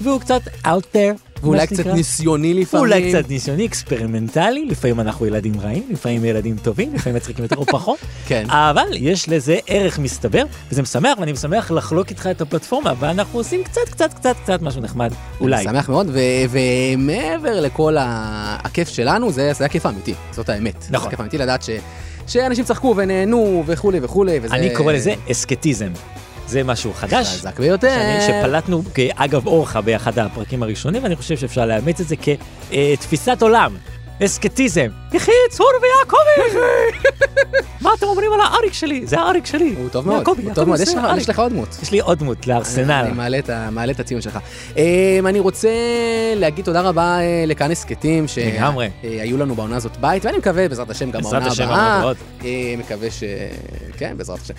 S3: והוא קצת out there, מה
S7: ואולי קצת
S3: שנקרא.
S7: ניסיוני לפעמים.
S3: אולי קצת ניסיוני, אקספרימנטלי, לפעמים אנחנו ילדים רעים, לפעמים ילדים טובים, לפעמים מצחיקים יותר או פחות,
S7: *laughs* כן.
S3: אבל יש לזה ערך מסתבר, וזה משמח, ואני משמח לחלוק איתך את הפלטפורמה, ואנחנו עושים קצת, קצת, קצת, קצת משהו נחמד, אולי.
S7: אני שמח מאוד, ו- ומעבר לכל ה- הכיף שלנו, זה זה היה כיף אמיתי, זאת האמת.
S3: נכון.
S7: זה כיף אמיתי לדעת ש- שאנשים צחקו ונהנו וכולי וכולי, וזה...
S3: אני קורא לזה אסקטיזם. זה משהו חדש,
S7: חזק ביותר.
S3: שאני- שפלטנו כאגב אורחה באחד הפרקים הראשונים, ואני חושב שאפשר לאמץ את זה כתפיסת אה, עולם. אסקטיזם. יחי צור ויעקבי! *laughs* מה אתם אומרים על האריק שלי? זה האריק שלי.
S2: הוא טוב מאוד,
S3: יעקבי,
S2: הוא טוב
S3: יעקבי
S2: מאוד.
S3: זה
S2: יש לך-
S3: האריק.
S2: יש לך עוד דמות.
S3: יש לי עוד דמות לארסנל.
S2: אני מעלה את, ה- מעלה את הציון שלך. אמ, אני רוצה להגיד תודה רבה אה, לכאן הסכתים
S3: לגמרי.
S2: שהיו לנו בעונה הזאת בית, ואני מקווה, בעזרת השם, גם
S3: בעזרת
S2: בעונה
S3: השם,
S2: הבאה.
S3: הבאות.
S2: אה, מקווה ש... כן, בעזרת השם.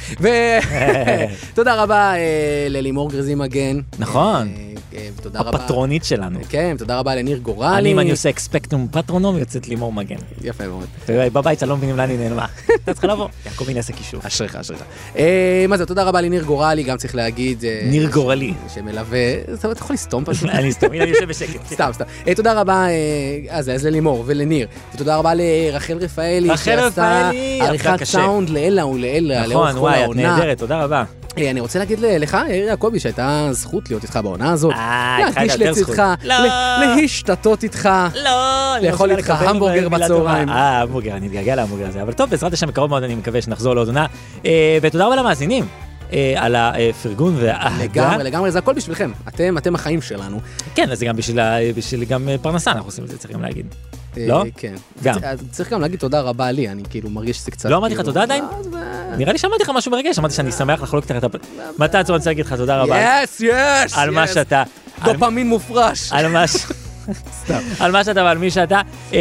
S2: *laughs* ותודה רבה אה, ללימור גרזי מגן.
S3: נכון.
S2: אה, אה, ותודה רבה...
S3: הפטרונית שלנו.
S2: כן, תודה רבה לניר גורלי.
S3: אני, אם אני עושה אקספקטום פטרונום, יוצאת לימור מגן.
S2: יפה מאוד.
S3: אתה יודע, בבית אני לא מבינים לאן היא נעלמה. *laughs* אתה צריך לבוא. יעקבי נעשה
S2: *laughs*
S3: קישור.
S2: אשריך, אשריך. אה, מה זה, תודה רבה לניר גורלי, גם צריך להגיד... אה,
S3: ניר גורלי.
S2: שמלווה... אתה יכול לסתום פשוט.
S3: *laughs* אני סתם, הנה, אני יושב בשקט.
S2: סתם, סתם. אה, תודה רבה, אה, אז אז ללימור ולניר. ותודה רבה לרחל רפאלי,
S3: רחל
S2: שעשתה
S3: רפאלי, עבדה
S2: עריכת
S3: קשה.
S2: סאונד לעילא ולעילא לאורך
S3: נכון,
S2: כל
S3: וואי, את
S2: העונה.
S3: נהדרת, תודה רבה.
S2: אה, אני רוצה להגיד ל- לך, יאיר יעקבי, שהייתה זכות להיות איתך בעונה הזאת.
S3: אה, איתך
S2: להרגיש
S3: הייתה יותר
S2: לצדך,
S3: זכות. לא.
S2: ל- להשתתות איתך.
S3: לא, אני לא
S2: לאכול
S3: מסוגל
S2: איתך
S3: לקבל
S2: המבורגר
S3: מילה
S2: בצהריים.
S3: טובה. אה, המבורגר, אני מתגעגע להמבורגר הזה. אבל טוב, בעזרת השם, בקרוב מאוד אני מקווה שנחזור לעוד עונה. אה, ותודה רבה למאזינים אה, על הפרגון והאהדה.
S2: לגמרי, לגמרי, זה הכל בשבילכם. אתם, אתם החיים שלנו.
S3: כן, אז זה גם בשביל ה- בשביל גם אה, פרנסה, אנחנו עושים את זה, צריך גם להגיד.
S2: אה,
S3: לא?
S2: כן.
S3: גם.
S2: אז צריך גם להגיד תודה רבה לי, אני כאילו מרגיש שזה קצת...
S3: לא אמרתי לך
S2: כאילו-
S3: תודה עדיין?
S2: אז, אה,
S3: נראה לי שאמרתי לך משהו מרגש, אמרתי שאני שמח לחלוק איתך את הפ... מתי אתה רוצה להגיד לך תודה רבה?
S2: יס, יס,
S3: על מה
S2: יס.
S3: שאתה... על-
S2: דופמין מופרש.
S3: על מה ש... על מה שאתה ועל מי שאתה. אה,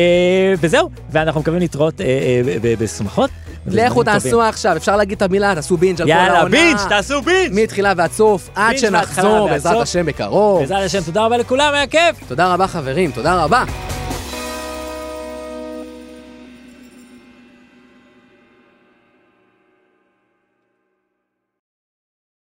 S3: וזהו, ואנחנו מקווים להתראות אה, אה, ב- ב- בשמחות.
S2: לכו
S3: ובזמנים טובים.
S2: תעשו עכשיו, אפשר להגיד את המילה, תעשו בינג' על כל העונה.
S3: יאללה, בינץ', תעשו בינץ'!
S2: מתחילה ועד סוף, עד
S3: בינג' מההתחלה
S2: שנחזור,
S3: ועד
S2: בעזרת
S3: סוף.
S2: השם בקרוב.
S3: בעזרת השם, תודה רבה לכולם, היה כיף!
S2: תודה רבה חברים, תודה רבה.